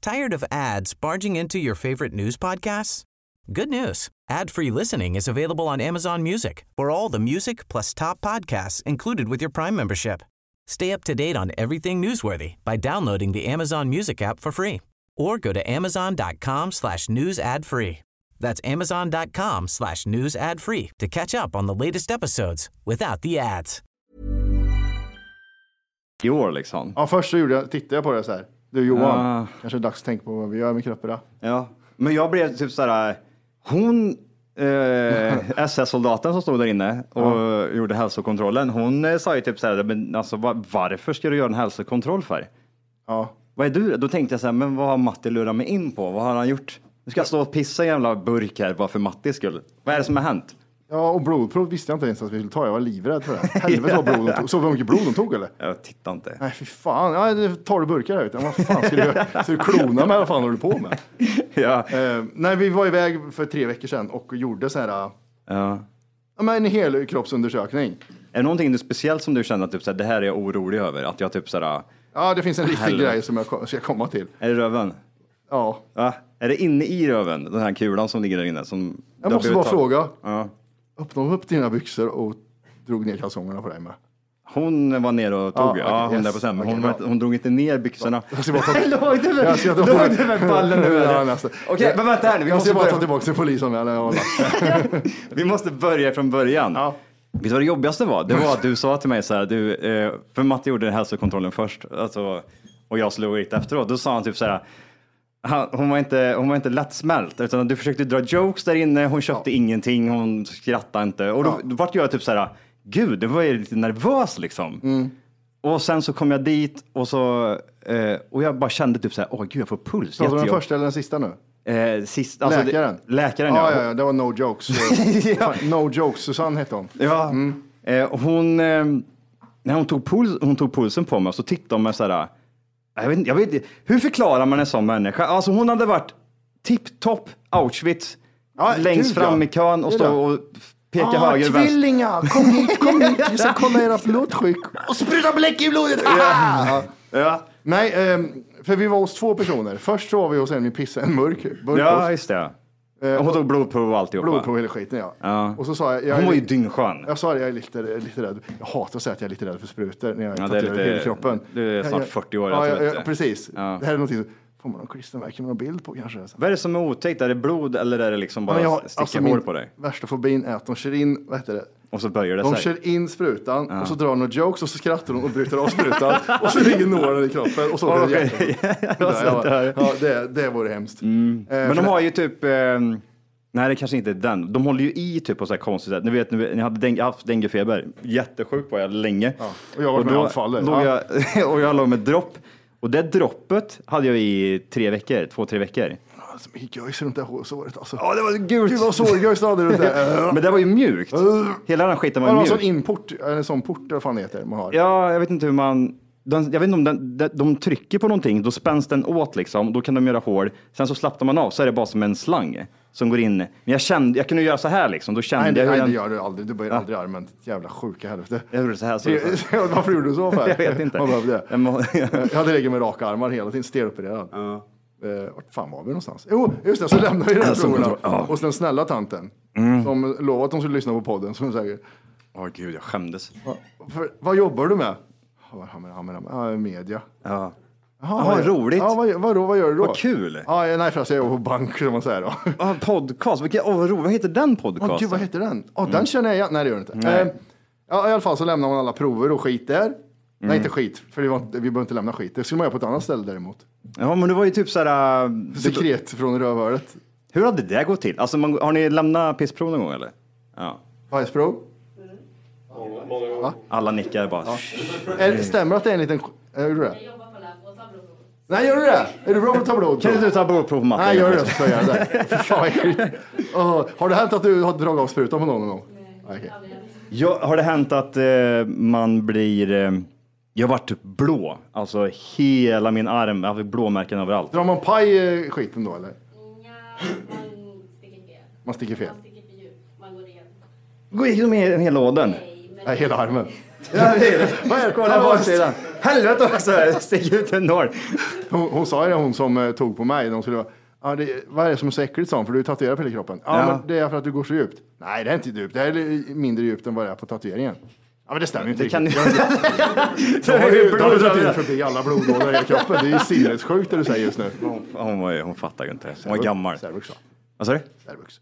[SPEAKER 6] Tired of ads barging into your favorite news podcasts? Good news. Ad-free listening is available on Amazon Music for all the music plus top podcasts included with your Prime membership. Stay up to date on everything newsworthy by downloading the Amazon Music app for free or go to amazon.com slash news ad free. That's amazon.com slash news ad free to catch up on the latest episodes without the ads.
[SPEAKER 2] i år liksom.
[SPEAKER 5] Ja, först så gjorde jag, tittade jag på det så här. Du Johan,
[SPEAKER 2] Ah.
[SPEAKER 5] kanske är dags att tänka på vad vi gör med Kröppera.
[SPEAKER 2] Ja. Men jag blev typ så här, hon, eh, SS-soldaten som stod där inne och gjorde hälsokontrollen, hon eh, sa ju typ så här, men alltså va- varför ska du göra en hälsokontroll för?
[SPEAKER 5] Ja.
[SPEAKER 2] Vad är du? Då tänkte jag så här, men vad har Matti lurat mig in på? Vad har han gjort? Nu ska jag stå och pissa i en jävla burk här bara för Mattis skull. Vad är det som har hänt?
[SPEAKER 5] Ja, och blodprov visste jag inte ens att vi skulle ta. Jag var livrädd för det. Helvete vad blod de tog. Såg vi hur mycket blod de tog eller?
[SPEAKER 2] Jag tittar inte.
[SPEAKER 5] Nej, fy fan. Ja, det är 12 burkar här ute. Vad fan ska du göra? Ska du klona mig? Vad fan håller du på med?
[SPEAKER 2] (laughs) Ja.
[SPEAKER 5] Eh, nej, vi var iväg för tre veckor sedan och gjorde så här,
[SPEAKER 2] Ja.
[SPEAKER 5] ja, men en helkroppsundersökning.
[SPEAKER 2] Är det någonting du speciellt som du känner att typ, såhär, det här är jag orolig över? Att jag typ såhär,
[SPEAKER 5] Ja, det finns en riktig
[SPEAKER 2] Helvete.
[SPEAKER 5] grej som jag ko- ska komma till.
[SPEAKER 2] är det röven?
[SPEAKER 5] Ja,
[SPEAKER 2] Ja. Är det inne i röven, den här kulan som ligger där inne? Som
[SPEAKER 5] jag måste bara fråga.
[SPEAKER 2] Ja.
[SPEAKER 5] Öppnade upp dina byxor och drog ner kalsongerna på dig med?
[SPEAKER 2] Hon var nere och tog,
[SPEAKER 5] Ja,
[SPEAKER 2] ja,
[SPEAKER 5] okej, yes.
[SPEAKER 2] hon där på sen, men
[SPEAKER 5] Okej,
[SPEAKER 2] hon,
[SPEAKER 5] bra.
[SPEAKER 2] var, hon drog inte ner byxorna.
[SPEAKER 5] Jag ska bara ta-
[SPEAKER 2] (laughs) Låg det
[SPEAKER 5] Jag ska ta-
[SPEAKER 2] med, med ballen nu?
[SPEAKER 5] Ja,
[SPEAKER 2] eller?
[SPEAKER 5] nästan.
[SPEAKER 2] Okej, men vänta här nu, vi
[SPEAKER 5] Jag
[SPEAKER 2] måste
[SPEAKER 5] ska bara ta
[SPEAKER 2] börja,
[SPEAKER 5] tillbaka till polisanmälan. jag har lagt.
[SPEAKER 2] vi måste börja från början.
[SPEAKER 5] Ja.
[SPEAKER 2] Vet du vad det jobbigaste var? Det var att du sa till mig så här, du, eh, för Matte gjorde hälsokontrollen först alltså, och jag slog hit efteråt. Då sa han typ så här, han, hon, var inte, hon var inte lättsmält utan du försökte dra jokes där inne, hon köpte ingenting, hon skrattade inte. Och då,
[SPEAKER 5] Ja. Mm.
[SPEAKER 2] då vart jag typ så här, gud, det var jag lite nervös liksom. Och sen så kom jag dit och så, eh, och jag bara kände typ så här, åh gud jag får puls.
[SPEAKER 5] Pratar du om den
[SPEAKER 2] Jättejobb.
[SPEAKER 5] första eller den sista nu?
[SPEAKER 2] Eh, sist, alltså,
[SPEAKER 5] läkaren? Ah,
[SPEAKER 2] Det, läkaren
[SPEAKER 5] ja.
[SPEAKER 2] ja.
[SPEAKER 5] Ja, ja, det var no jokes.
[SPEAKER 2] (laughs) Ja.
[SPEAKER 5] Fan, No jokes, Susanne hette hon.
[SPEAKER 2] Ja.
[SPEAKER 5] Mm.
[SPEAKER 2] Eh, hon, eh, när hon, tog puls, hon tog pulsen på mig så tittade hon mig så här. Jag vet, inte- jag vet, inte- hur förklarar man en sån människa? Alltså hon hade varit tipptopp Auschwitz,
[SPEAKER 5] Ja,
[SPEAKER 2] längst
[SPEAKER 5] gud,
[SPEAKER 2] fram
[SPEAKER 5] ja.
[SPEAKER 2] i kön och
[SPEAKER 5] Det
[SPEAKER 2] stå
[SPEAKER 5] då.
[SPEAKER 2] och peka
[SPEAKER 5] Ah,
[SPEAKER 2] höger och vänster.
[SPEAKER 5] tvillingar! Kom hit, kom
[SPEAKER 2] (laughs)
[SPEAKER 5] hit! Vi ska kolla era blodtryck. Och spruta bläck i blodet! Ja.
[SPEAKER 2] Ja,
[SPEAKER 5] Nej, ehm, för vi var hos två personer. Först så var vi hos en vi pissade en mörk burk
[SPEAKER 2] ja,
[SPEAKER 5] hos.
[SPEAKER 2] just det.
[SPEAKER 5] Eh,
[SPEAKER 2] Hon tog blodprov och alltihopa.
[SPEAKER 5] Blodprov hela skiten ja.
[SPEAKER 2] Ja.
[SPEAKER 5] Och så sa jag, jag
[SPEAKER 2] Hon
[SPEAKER 5] är
[SPEAKER 2] var ju
[SPEAKER 5] li-
[SPEAKER 2] dyngskön.
[SPEAKER 5] Jag sa det, jag är lite, lite rädd. Jag hatar att säga att jag är lite rädd för sprutor när jag
[SPEAKER 2] Ja,
[SPEAKER 5] ja,
[SPEAKER 2] det är
[SPEAKER 5] tatuerar
[SPEAKER 2] lite-
[SPEAKER 5] hela kroppen.
[SPEAKER 2] du är snart
[SPEAKER 5] Jag- jag-
[SPEAKER 2] 40 år, jag
[SPEAKER 5] Ja,
[SPEAKER 2] tror
[SPEAKER 5] jag,
[SPEAKER 2] inte.
[SPEAKER 5] jag, precis.
[SPEAKER 2] Ja.
[SPEAKER 5] Det här är någonting som, får man någon klistermärke med någon bild på kanske? Så.
[SPEAKER 2] Vad är det som är otäckt? Är det blod eller är det liksom bara
[SPEAKER 5] Men jag-
[SPEAKER 2] sticker
[SPEAKER 5] alltså,
[SPEAKER 2] hår
[SPEAKER 5] min
[SPEAKER 2] på dig?
[SPEAKER 5] Värsta fobin är att de kör in, vad heter det?
[SPEAKER 2] Och så böjer det
[SPEAKER 5] De
[SPEAKER 2] sig.
[SPEAKER 5] kör in sprutan och så drar de några jokes och så skrattar de och bryter av sprutan
[SPEAKER 2] (laughs)
[SPEAKER 5] och så ligger nålen i kroppen och så åker
[SPEAKER 2] Okej.
[SPEAKER 5] det
[SPEAKER 2] (laughs)
[SPEAKER 5] hjärtat.
[SPEAKER 2] Jag
[SPEAKER 5] Ja,
[SPEAKER 2] dör.
[SPEAKER 5] Ja, det, det vore hemskt. Eh,
[SPEAKER 2] Mm. Men
[SPEAKER 5] för
[SPEAKER 2] de
[SPEAKER 5] det-
[SPEAKER 2] har ju typ, eh, nej det kanske inte är den, de håller ju i typ på så här konstigt sätt. Ni vet, ni, ni hade deng- jag har haft denguefeber, jättesjuk var jag länge.
[SPEAKER 5] och jag har varit med
[SPEAKER 2] då
[SPEAKER 5] om anfall.
[SPEAKER 2] låg
[SPEAKER 5] Ja.
[SPEAKER 2] jag, (laughs) och jag låg med dropp. Och det droppet hade jag i tre veckor, två, tre veckor.
[SPEAKER 5] Fan, Så Alltså, mycket göjs runt det här såret alltså.
[SPEAKER 2] Ja, det var gult.
[SPEAKER 5] Gud vad sårgöjs du hade runt det.
[SPEAKER 2] (laughs)
[SPEAKER 5] Eh.
[SPEAKER 2] Men det var ju mjukt. Hela den här skiten
[SPEAKER 5] Ja, det
[SPEAKER 2] var
[SPEAKER 5] var en
[SPEAKER 2] mjuk.
[SPEAKER 5] sån inport, eller en sån port eller vad fan det heter man har.
[SPEAKER 2] Ja, jag vet inte hur man... Den, jag vet inte om den, de, de trycker på någonting, då spänns den åt liksom, då kan de göra hål. Sen så slappnar man av, så är det bara som en slang som går in. Men jag kände, jag kunde göra så här liksom, då kände
[SPEAKER 5] nej, det,
[SPEAKER 2] jag
[SPEAKER 5] nej, det
[SPEAKER 2] hur
[SPEAKER 5] gör du aldrig. Du böjer aldrig armen. Ditt jävla sjuka helvete.
[SPEAKER 2] Jag gjorde så
[SPEAKER 5] (laughs)
[SPEAKER 2] här, så-
[SPEAKER 5] Varför gjorde du så för?
[SPEAKER 2] (laughs) Jag vet inte.
[SPEAKER 5] Man behövde det.
[SPEAKER 2] Jag må-
[SPEAKER 5] (laughs) Jag hade legat med raka armar hela tiden, stelopererad. Eh, vart fan var vi någonstans? Jo, just det, så lämnade vi den här frågan.
[SPEAKER 2] Alltså, ja. Mm.
[SPEAKER 5] Hos den snälla tanten. Som lovade att de skulle lyssna på podden. Som säger,
[SPEAKER 2] Åh gud, jag skämdes.
[SPEAKER 5] "Va- för, vad jobbar du med? Ja, vad- ja, men- ja, Media.
[SPEAKER 2] Ja.
[SPEAKER 5] Jaha,
[SPEAKER 2] vad
[SPEAKER 5] gör-
[SPEAKER 2] roligt.
[SPEAKER 5] Ja, vad, vadå, vad gör du då?
[SPEAKER 2] Vad kul.
[SPEAKER 5] Ja, nej, förresten, jag jobbar på bank, som man säger
[SPEAKER 2] (laughs)
[SPEAKER 5] då.
[SPEAKER 2] Ah, podcast, vilken, åh vad roligt, vad heter den podcasten? Mm.
[SPEAKER 5] Åh gud, vad heter den? Åh, Den känner jag igen. Nej, det gör den inte.
[SPEAKER 2] Nej.
[SPEAKER 5] Eh, ja, I alla fall så lämnar man alla prover och skit där.
[SPEAKER 2] Mm.
[SPEAKER 5] Nej, inte skit, för det var, inte- vi behöver inte lämna skit. Det skulle man göra på ett annat ställe däremot.
[SPEAKER 2] Ja, men det var ju typ så här... äh, Det,
[SPEAKER 5] Sekret från rövöret.
[SPEAKER 2] hur hade det gått till? Alltså, man, har ni lämnat pissprov någon gång eller? Ja.
[SPEAKER 5] Bajsprov.
[SPEAKER 2] Alla nickar bara.
[SPEAKER 5] Är- Stämmer att det är en liten... Är du det? Nej, gör du det? Är du bra på tablå?
[SPEAKER 2] Kan inte du ta blodprov på Matti?
[SPEAKER 5] Nej, gör du det så säger jag det. Fy Fan, vad äckligt. Åh, har det hänt att du har dragit av sprutan på någon någon gång? Nej.
[SPEAKER 2] Ja, har det hänt att eh, man blir... Eh, jag har varit typ blå, alltså hela min arm, jag har blåmärken överallt.
[SPEAKER 5] Drar man paj eh, skiten då eller? Man sticker fel.
[SPEAKER 2] Gå igenom he- hela ådern.
[SPEAKER 5] Nej, hela armen.
[SPEAKER 2] Vad är det? Kolla baksidan. Helvete också, det sticker ut en nål.
[SPEAKER 5] Hon, hon sa ju det, hon som eh, tog på mig. De skulle vara, ah, det, vad är det som är så äckligt, sa hon, för du är tatuerad på hela kroppen. Ja,
[SPEAKER 2] Ja.
[SPEAKER 5] men det är för att du går så djupt. Nej, det är inte djupt. Det här är mindre djupt än vad det är på tatueringen. Ja, men det stämmer ju inte.
[SPEAKER 2] Det kan ju...
[SPEAKER 5] riktigt.
[SPEAKER 2] (laughs) Det
[SPEAKER 5] Jag har
[SPEAKER 2] är
[SPEAKER 5] ju
[SPEAKER 2] ju
[SPEAKER 5] jag har ju
[SPEAKER 2] blod
[SPEAKER 5] dragit in
[SPEAKER 2] överallt.
[SPEAKER 5] förbi alla blodådror i hela kroppen. Det är ju sinnessjukt det du säger just nu.
[SPEAKER 2] Hon, var ju, hon fattar ju inte. Hon var gammal.
[SPEAKER 5] Särvux, ja.
[SPEAKER 2] Vad sa du?
[SPEAKER 5] Särvux.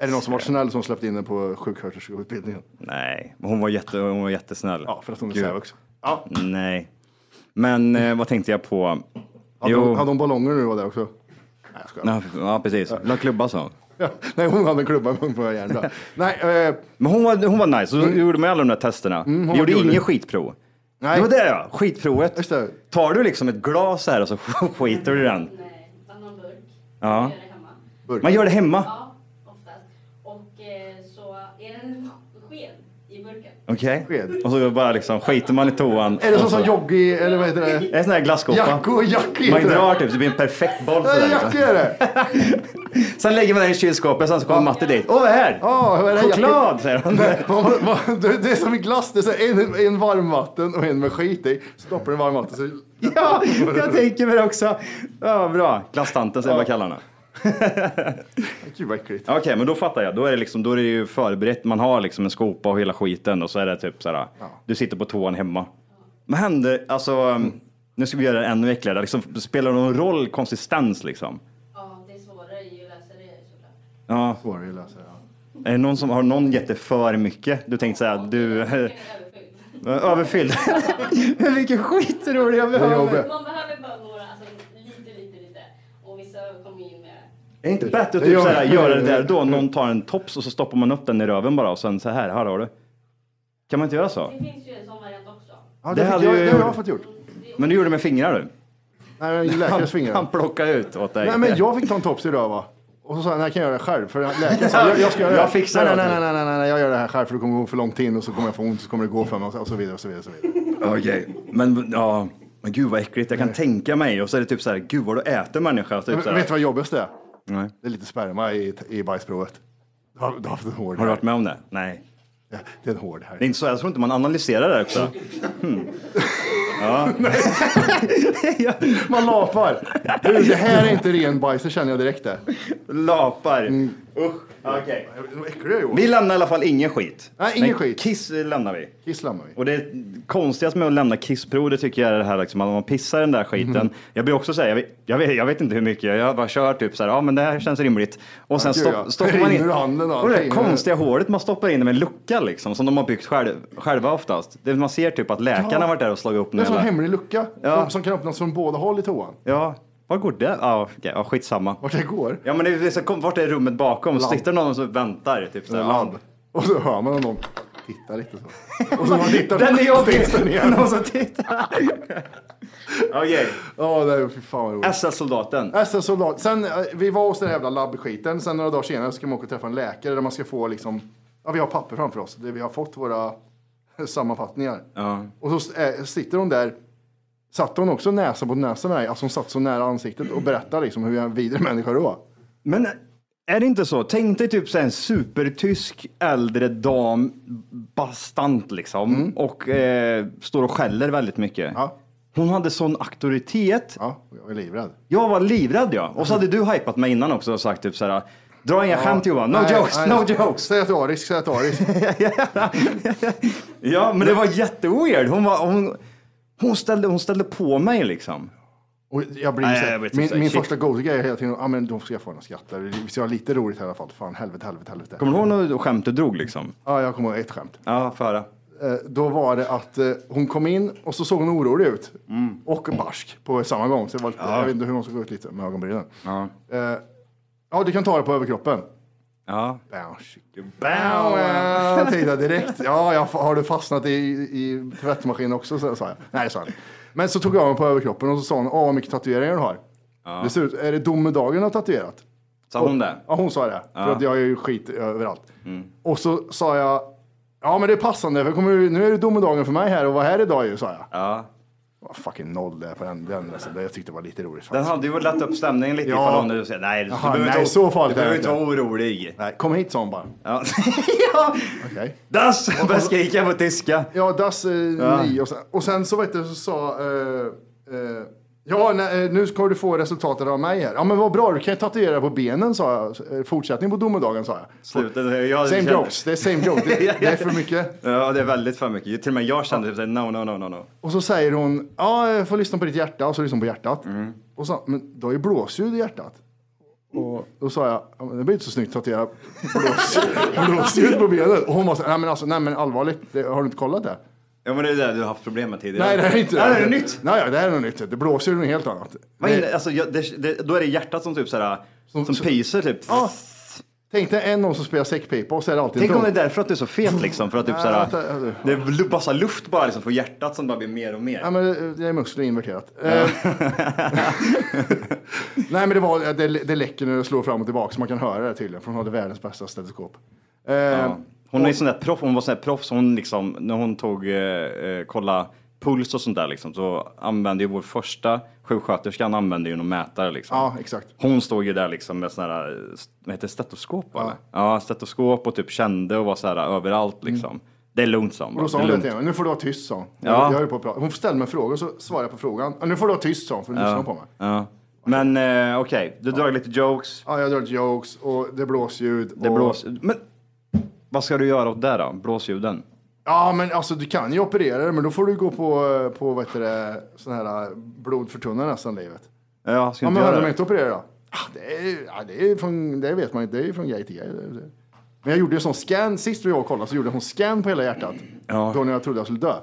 [SPEAKER 5] Är det någon som varit snäll som släppt in den på sjuksköterskeutbildningen?
[SPEAKER 2] Nej, men hon var, jätte, hon var jättesnäll.
[SPEAKER 5] Ja, för att hon är
[SPEAKER 2] Gud.
[SPEAKER 5] särvux. Ja.
[SPEAKER 2] Nej. Men eh, vad tänkte jag på?
[SPEAKER 5] Hade hon, hade hon ballonger när du var där också? (laughs) Nej, jag skojar.
[SPEAKER 2] Ja, ja, precis. La klubba sa hon.
[SPEAKER 5] Ja. Nej, hon hade en klubba i munnen på mig
[SPEAKER 2] (laughs)
[SPEAKER 5] igen. Nej, eh,
[SPEAKER 2] Men hon var, hon var nice, så gjorde man ju alla de där testerna.
[SPEAKER 5] Mm. hon
[SPEAKER 2] vi gjorde
[SPEAKER 5] var gullig.
[SPEAKER 2] inget skitprov.
[SPEAKER 5] Nej.
[SPEAKER 2] Det var det ja, skitprovet.
[SPEAKER 5] Just det.
[SPEAKER 2] Tar du liksom ett glas här och så (laughs) skiter du i den?
[SPEAKER 7] Nej, annan burk.
[SPEAKER 2] Ja.
[SPEAKER 7] Jag gör det hemma.
[SPEAKER 5] burk.
[SPEAKER 2] Man gör det hemma?
[SPEAKER 7] Ja, oftast. Och eh, så är det en sked i burken.
[SPEAKER 2] Okej.
[SPEAKER 5] Sked.
[SPEAKER 2] Och så bara liksom skiter man i toan.
[SPEAKER 5] Är det sån
[SPEAKER 2] och så-
[SPEAKER 5] som Joggi, eller vad heter det?
[SPEAKER 2] En sån här glasskopa.
[SPEAKER 5] Jacko, Jacki
[SPEAKER 2] Man
[SPEAKER 5] heter det.
[SPEAKER 2] drar typ, så det blir en perfekt boll
[SPEAKER 5] Nej,
[SPEAKER 2] sådär.
[SPEAKER 5] Jacki är
[SPEAKER 2] Liksom.
[SPEAKER 5] det!
[SPEAKER 2] Sen lägger man den i kylskåpet, sen så kommer Matte dit. Åh, vad är det här?
[SPEAKER 5] Ja, vad är det här, Jacki?
[SPEAKER 2] Choklad, säger han.
[SPEAKER 5] Vad- (laughs) vad- vad- du, Det är som i glass, det är så här, en, en varmvatten och en med skit i. Så doppar du en varmvatten så...
[SPEAKER 2] Ja, jag tänker mig det också. Ja, vad bra. Glasstanten, säger jag bara kallar henne.
[SPEAKER 5] Gud vad äckligt.
[SPEAKER 2] Okej, men då fattar jag. Då är, det liksom, då är det ju förberett. Man har liksom en skopa och hela skiten och så är det typ så här. Du sitter på toan hemma. Vad händer? Alltså, nu ska vi göra det ännu äckligare. Liksom, spelar det någon roll konsistens liksom?
[SPEAKER 7] Ja, det är svårare ju att läsa det såklart.
[SPEAKER 2] Ja.
[SPEAKER 5] Svårare att lösa, ja.
[SPEAKER 2] Är det någon som har någon gett det för mycket? Du tänkte säga du (laughs)
[SPEAKER 7] Överfylld.
[SPEAKER 2] överfylld. Men Vilken skitrolig jag
[SPEAKER 5] Det är
[SPEAKER 2] behöver.
[SPEAKER 5] jobbigt.
[SPEAKER 7] Man behöver bara några, alltså lite, lite, lite. Och vissa kommer ju med.
[SPEAKER 2] Är det inte bättre att
[SPEAKER 5] Det
[SPEAKER 2] typ
[SPEAKER 5] gör-
[SPEAKER 2] så här, göra det där då? Någon tar en tops och så stoppar man upp den i röven bara och sen så här, här har du. Kan man inte göra så?
[SPEAKER 7] Det finns ju en sån variant också.
[SPEAKER 5] Ja,
[SPEAKER 2] Det
[SPEAKER 5] det, fick
[SPEAKER 2] hade
[SPEAKER 5] jag,
[SPEAKER 2] ju-
[SPEAKER 5] det har jag fått gjort.
[SPEAKER 2] Men du gjorde med fingrar du.
[SPEAKER 5] Nej, men läkares
[SPEAKER 2] (laughs) Han
[SPEAKER 5] fingrar.
[SPEAKER 2] plockade ut åt dig.
[SPEAKER 5] Nej, men jag fick ta en tops i röva. Och så sa han, nej, jag kan göra det själv. För läkaren sa, jag, jag ska göra det. här."
[SPEAKER 2] Jag fixar
[SPEAKER 5] nej,
[SPEAKER 2] det
[SPEAKER 5] nej,
[SPEAKER 2] åt
[SPEAKER 5] nej, nej, nej, nej, nej, jag gör det här själv för det kommer gå för långt in och så kommer jag få ont och så kommer det gå för mig och så- och så vidare och så vidare. Och så vidare.
[SPEAKER 2] Okej, men ja. Men gud vad äckligt, jag kan tänka mig. Och så är det typ så här, gud vad du äter människa. Typ så
[SPEAKER 5] Men, vet du
[SPEAKER 2] här.
[SPEAKER 5] vad jobbigast är?
[SPEAKER 2] Nej.
[SPEAKER 5] Det är lite sperma i, i bajsprovet. Du har, du har haft en hård
[SPEAKER 2] Har du varit med om det? Nej.
[SPEAKER 5] här. Det är en hård
[SPEAKER 2] Det är
[SPEAKER 5] här.
[SPEAKER 2] inte så, jag tror inte man analyserar det också.
[SPEAKER 5] Mm. Man lapar. Du, det här är inte ren bajs, det känner jag direkt det.
[SPEAKER 2] Lapar. Usch. Okej.
[SPEAKER 5] Vad äcklig du är Johan.
[SPEAKER 2] Vi lämnar i alla fall ingen skit.
[SPEAKER 5] Nej, ingen
[SPEAKER 2] Men
[SPEAKER 5] skit.
[SPEAKER 2] Kiss lämnar vi.
[SPEAKER 5] Kiss lämnar vi.
[SPEAKER 2] Och det konstigaste med att lämna kissprov, det tycker jag är det här liksom, att man pissar den där skiten.
[SPEAKER 5] Mhm.
[SPEAKER 2] Jag blir också säga, jag, vet- jag, vet- jag vet inte hur mycket, jag bara kör typ så här, ja men det här känns rimligt. Och sen
[SPEAKER 5] gud,
[SPEAKER 2] stopp,
[SPEAKER 5] ja.
[SPEAKER 2] stoppar man in,
[SPEAKER 5] Rinner ur handen och
[SPEAKER 2] och det där
[SPEAKER 5] allting.
[SPEAKER 2] konstiga hålet man stoppar in med en lucka liksom, som de har byggt själv, själva oftast. Det, man ser typ att läkarna
[SPEAKER 5] Ja.
[SPEAKER 2] har varit där och slagit upp
[SPEAKER 5] Det är en sån
[SPEAKER 2] hela-
[SPEAKER 5] hemlig lucka
[SPEAKER 2] Ja.
[SPEAKER 5] som, som kan öppnas från båda håll i toan.
[SPEAKER 2] Ja, var går det? Ja, okay, ja skitsamma.
[SPEAKER 5] Vart det går.
[SPEAKER 2] Ja men det är, så, kom, vart är rummet bakom?
[SPEAKER 5] Labb.
[SPEAKER 2] Sitter någon som väntar? Typ så här,
[SPEAKER 5] Land. Och så hör man någon titta lite så. Och så när man tittar
[SPEAKER 2] Den är jobbig!
[SPEAKER 5] finns den igen.
[SPEAKER 2] Någon som tittar.
[SPEAKER 5] (laughs)
[SPEAKER 2] Okej,
[SPEAKER 5] Ja, det är fy fan vad roligt.
[SPEAKER 2] SS-soldaten.
[SPEAKER 5] SS-soldat. Sen, eh, vi var hos den här jävla labbskiten. Sen några dagar senare ska man åka och träffa en läkare där man ska få liksom, ja vi har papper framför oss. Där vi har fått våra (laughs) sammanfattningar.
[SPEAKER 2] Ja.
[SPEAKER 5] Och så s- eh, sitter hon där. Satt hon också näsa mot näsa med dig? Alltså hon satt så nära ansiktet och berättade liksom hur en vidrig människa du var.
[SPEAKER 2] Men är det inte så? Tänk dig typ så här en supertysk äldre dam, bastant liksom, och eh, står och skäller väldigt mycket.
[SPEAKER 5] Mm. Ja.
[SPEAKER 2] Hon hade sån auktoritet.
[SPEAKER 5] Ja, Mm. och jag är livrädd.
[SPEAKER 2] Jag var livrädd ja. Och så hade du hypat mig innan också och sagt typ så här, dra inga skämt Johan, no jokes, no jokes.
[SPEAKER 5] Säg att du är arisk, säg att du är
[SPEAKER 2] (laughs)
[SPEAKER 5] arisk.
[SPEAKER 2] Ja, men det var jätteweird. Hon, var, hon, hon, ställde, hon ställde på mig liksom.
[SPEAKER 5] Och jag blir
[SPEAKER 2] Nej,
[SPEAKER 5] så här-
[SPEAKER 2] jag vet inte,
[SPEAKER 5] min min
[SPEAKER 2] shit.
[SPEAKER 5] första go-to-grej är hela tiden ah, men de ska få några skratt där. Vi ska ha lite roligt här i alla fall. Fan, helvete, helvete, helvete.
[SPEAKER 2] Kommer du ihåg något skämt du drog liksom?
[SPEAKER 5] Ja, jag kommer ihåg ett skämt.
[SPEAKER 2] Ja, få höra.
[SPEAKER 5] Eh, då var det att eh, hon kom in och så såg hon orolig ut. Och barsk på samma gång. Så det var, lite- jag vet inte hur hon såg ut lite med ögonbrynen.
[SPEAKER 2] Ja.
[SPEAKER 5] Eh, ja, du kan ta det på överkroppen.
[SPEAKER 2] Ja.
[SPEAKER 5] Bam, chicken, bam. Jag tänkte direkt, ja, jag, har du fastnat i, i tvättmaskinen också? Så, sa jag. Nej, sa han. Men så tog jag honom på överkroppen och så sa hon, åh, vad mycket tatueringar du har. Det ser ut, är det domedagen du har tatuerat?
[SPEAKER 2] Sa hon det?
[SPEAKER 5] Ja, hon sa det. För att jag är ju skit överallt.
[SPEAKER 2] Mm.
[SPEAKER 5] Och så sa jag, ja men det är passande, för jag kommer, ju- nu är det domedagen för mig här och vad här idag ju, sa jag.
[SPEAKER 2] Ja.
[SPEAKER 5] Vad fucking noll det är på den. den alltså, det, jag tyckte det var lite roligt
[SPEAKER 2] Den
[SPEAKER 5] faktiskt.
[SPEAKER 2] hade ju lätt upp stämningen lite
[SPEAKER 5] Ja.
[SPEAKER 2] ifall hon nu säger nej, du
[SPEAKER 5] Jaha,
[SPEAKER 2] behöver
[SPEAKER 5] nej,
[SPEAKER 2] inte
[SPEAKER 5] så farligt
[SPEAKER 2] du behöver
[SPEAKER 5] är det
[SPEAKER 2] inte vara orolig.
[SPEAKER 5] Nej, kom hit sa hon bara.
[SPEAKER 2] Ja. (laughs) ja.
[SPEAKER 5] Okej.
[SPEAKER 2] Das! Började skrika på tyska.
[SPEAKER 5] Ja, das eh, ni och sen, och sen så vet du så sa... Eh, eh, ja, nej, eh, nu ska du få resultatet av mig här. Ja, men vad bra, du kan ju tatuera på benen sa jag. Eh, Fortsättning på domedagen sa jag.
[SPEAKER 2] Slutet, jag
[SPEAKER 5] Same
[SPEAKER 2] kände- (laughs)
[SPEAKER 5] jokes, det är same joke. Det, det är för mycket.
[SPEAKER 2] Ja, det är väldigt för mycket. Till och med jag kände typ såhär, no, no, no, no, no.
[SPEAKER 5] Och så säger hon, ja, jag får lyssna på ditt hjärta. Och så lyssnar hon på hjärtat.
[SPEAKER 2] Mm.
[SPEAKER 5] Och så, men du har ju blåsljud i hjärtat. Och då sa jag, ja, men det blir inte så snyggt att tatuera blås, (laughs) blåsljud på benet. Och hon var så här, nej men alltså, nej men allvarligt, det, har du inte kollat det?
[SPEAKER 2] Ja, men det är det du har haft problem med tidigare.
[SPEAKER 5] Nej, det är inte
[SPEAKER 2] Nej, det är nytt.
[SPEAKER 5] Nej, ja, det här är något nytt. Det blåser ju något helt annat.
[SPEAKER 2] Vad
[SPEAKER 5] Nej,
[SPEAKER 2] inne, alltså, jag, det, det, då är det hjärtat som typ såhär, som,
[SPEAKER 5] som-
[SPEAKER 2] pyser typ.
[SPEAKER 5] Ja. Tänk dig en någon som spelar säckpipa och så är det alltid
[SPEAKER 2] Tänk
[SPEAKER 5] en
[SPEAKER 2] om det är
[SPEAKER 5] ton.
[SPEAKER 2] därför att du är så fet liksom, för att typ såhär,
[SPEAKER 5] Ja, vänta, vänta.
[SPEAKER 2] det är lu- massa luft bara liksom från hjärtat som bara blir mer och mer.
[SPEAKER 5] Ja, men eh, det är muskler inverterat. Eh, (laughs) Nej, men det, var, eh, det, det läcker när det slår fram och tillbaka, så man kan höra det tydligen, för hon hade världens bästa stetoskop. Eh,
[SPEAKER 2] Ja. Hon, är sån där proff, hon var sån där proffs, hon liksom, när hon tog, eh, eh, kolla puls och sånt där liksom, så använde ju vår första sjuksköterskan använde ju någon mätare liksom.
[SPEAKER 5] Ja, exakt.
[SPEAKER 2] Hon stod ju där liksom med sån här, eh, st- vad heter det, stetoskop eller? Ja, stetoskop och typ kände och var så här överallt liksom. Det är lugnt sa hon.
[SPEAKER 5] Mm. Och då sa
[SPEAKER 2] bara, det är
[SPEAKER 5] hon det
[SPEAKER 2] lugnt.
[SPEAKER 5] till mig, nu får du vara tyst sa hon.
[SPEAKER 2] Ja.
[SPEAKER 5] Jag höll på att prata. Hon ställde mig frågor, så svarade jag på frågan. Ja, Nu får du vara tyst sa hon, för nu lyssnar hon på mig.
[SPEAKER 2] Ja. Men eh, okej, du drar lite jokes,
[SPEAKER 5] Ja, jag drar jokes och det blåsljud.
[SPEAKER 2] det
[SPEAKER 5] och...
[SPEAKER 2] blås... Men vad ska du göra åt det då? Blåsljuden?
[SPEAKER 5] Ja, men alltså du kan ju operera det, men då får du gå på, eh, på vad heter det, sån här blodförtunnare resten av livet.
[SPEAKER 2] Ja, ska
[SPEAKER 5] Ja,
[SPEAKER 2] inte
[SPEAKER 5] men hade
[SPEAKER 2] göra
[SPEAKER 5] de
[SPEAKER 2] det?
[SPEAKER 5] inte opererat då? Ah, Det, är, ju- ja, det, är ju från, det vet man inte, det är ju från grej till grej. Det- det- Men jag gjorde ju sån scan, sist vi var och kollade så gjorde jag en scan på hela hjärtat.
[SPEAKER 2] Ja.
[SPEAKER 5] Då när jag trodde jag skulle dö.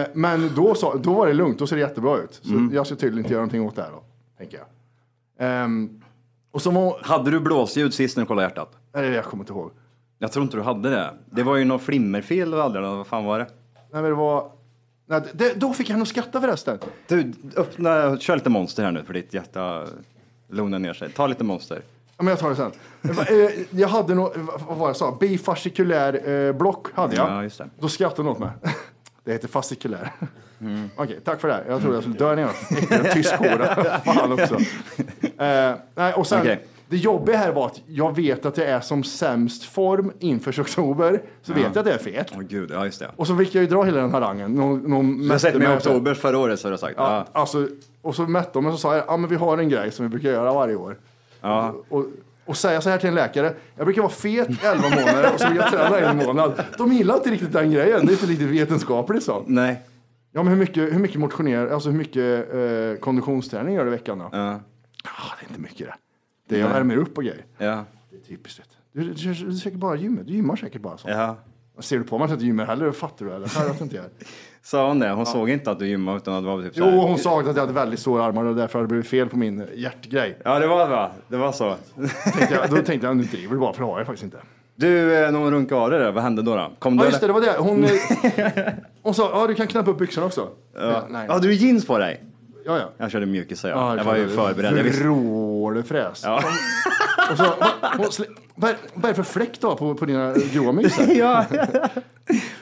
[SPEAKER 5] Eh, men då, sa, då var det lugnt, då ser det jättebra ut. Så
[SPEAKER 2] Mm.
[SPEAKER 5] jag ska tydligen inte göra någonting åt det här då, tänker jag. Ehm, och så var,
[SPEAKER 2] Hade du blåsljud sist när du kollade hjärtat?
[SPEAKER 5] nej, jag kommer inte ihåg.
[SPEAKER 2] Jag tror inte du hade det. Det var ju något flimmerfel du hade, eller vad fan var det?
[SPEAKER 5] Nej, men det var, Nej, det, då fick han nog skratta förresten.
[SPEAKER 2] Du, öppna, kör lite monster här nu för ditt hjärta lugnar ner sig. Ta lite monster.
[SPEAKER 5] Ja, Men jag tar det sen. Jag bara, eh, Jag hade nog, vad var det jag sa? Bifascikulär eh, block hade jag.
[SPEAKER 2] Ja, just det.
[SPEAKER 5] Då skrattade något med. (laughs) Det heter fascikulär.
[SPEAKER 2] Mm.
[SPEAKER 5] (laughs) Okej, tack för det. här. Jag trodde jag skulle dö när jag fick en tysk
[SPEAKER 2] (laughs)
[SPEAKER 5] hora. Fan också. Eh, nej, och sen,
[SPEAKER 2] Okej.
[SPEAKER 5] Det jobbiga här var att jag vet att jag är som sämst form inför oktober. Så vet jag att det är fel.
[SPEAKER 2] Åh gud, ja just det.
[SPEAKER 5] Och så fick jag ju dra hela den harangen. Någon, någon
[SPEAKER 2] Du har sett mig i
[SPEAKER 5] mätare-
[SPEAKER 2] oktober förra året så har du sagt.
[SPEAKER 5] Ja,
[SPEAKER 2] Ja.
[SPEAKER 5] alltså, och så mätte de mig och så sa jag, ja men vi har en grej som vi brukar göra varje år.
[SPEAKER 2] Ja.
[SPEAKER 5] Och, och säga så här till en läkare, jag brukar vara fet i 11 månader och så vill jag träna en månad. De gillar inte riktigt den grejen, det är inte riktigt vetenskapligt så.
[SPEAKER 2] Nej.
[SPEAKER 5] Ja men hur mycket, hur mycket motionerar, alltså hur mycket eh, konditionsträning gör du i veckan då?
[SPEAKER 2] Ja.
[SPEAKER 5] Ah, det är inte mycket det. Det är jag värmer upp och grejer.
[SPEAKER 2] Ja.
[SPEAKER 5] Det är typiskt det. Du, du, du, du söker bara gymmet, du gymmar säkert bara så.
[SPEAKER 2] ja.
[SPEAKER 5] Ser du på mig att jag inte gymmar heller, fattar du eller? Nej, jag tror
[SPEAKER 2] (laughs)
[SPEAKER 5] inte jag.
[SPEAKER 2] Sa hon det? Hon såg inte att du gymmade utan att det var typ så
[SPEAKER 5] Jo,
[SPEAKER 2] här.
[SPEAKER 5] hon sa att jag hade väldigt stora armar och därför hade det blivit fel på min hjärtgrej.
[SPEAKER 2] Ja, det var, va? det var så.
[SPEAKER 5] tänkte jag, då tänkte jag, nu driver du bara, för det har jag faktiskt inte.
[SPEAKER 2] Du, eh, någon runkade av dig där. Vad hände då? då? Kom
[SPEAKER 5] Ja,
[SPEAKER 2] du
[SPEAKER 5] just det, det var det. Hon,
[SPEAKER 2] (laughs)
[SPEAKER 5] eh, hon sa, ja du kan knäppa upp byxorna också. Ja, nej.
[SPEAKER 2] Ja, du har jeans på dig.
[SPEAKER 5] ja. ja.
[SPEAKER 2] Jag körde mjukisar jag.
[SPEAKER 5] Ja,
[SPEAKER 2] jag var ju förberedd. Jag visste.
[SPEAKER 5] Vrålfräs.
[SPEAKER 2] Ja.
[SPEAKER 5] Och så, va, hon slä- vad är- vad är det för fläck då på, på dina gråa myxor?
[SPEAKER 2] (laughs) ja.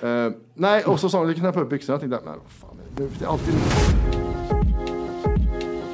[SPEAKER 5] Eh, nej, och så sa hon, du kan knäppa upp byxorna. Jag tänkte, nej vad fan, det det är alltid...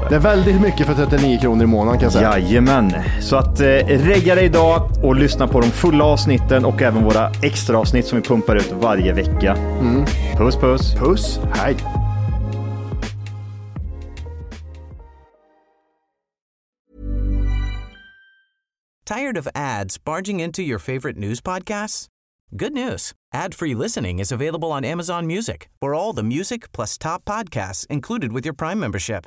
[SPEAKER 2] det.
[SPEAKER 5] Det är väldigt mycket för 39 kronor i månaden kan jag säga.
[SPEAKER 2] Jajamän, så att eh, regga dig idag och lyssna på de fulla avsnitten och även våra extra avsnitt som vi pumpar ut varje vecka. Puss puss!
[SPEAKER 5] Mm. Puss, hej!
[SPEAKER 6] Tired of ads barging into your favorite news podcasts? Good news. Ad-free listening is available on Amazon Music for all the music plus top podcasts included with your Prime membership.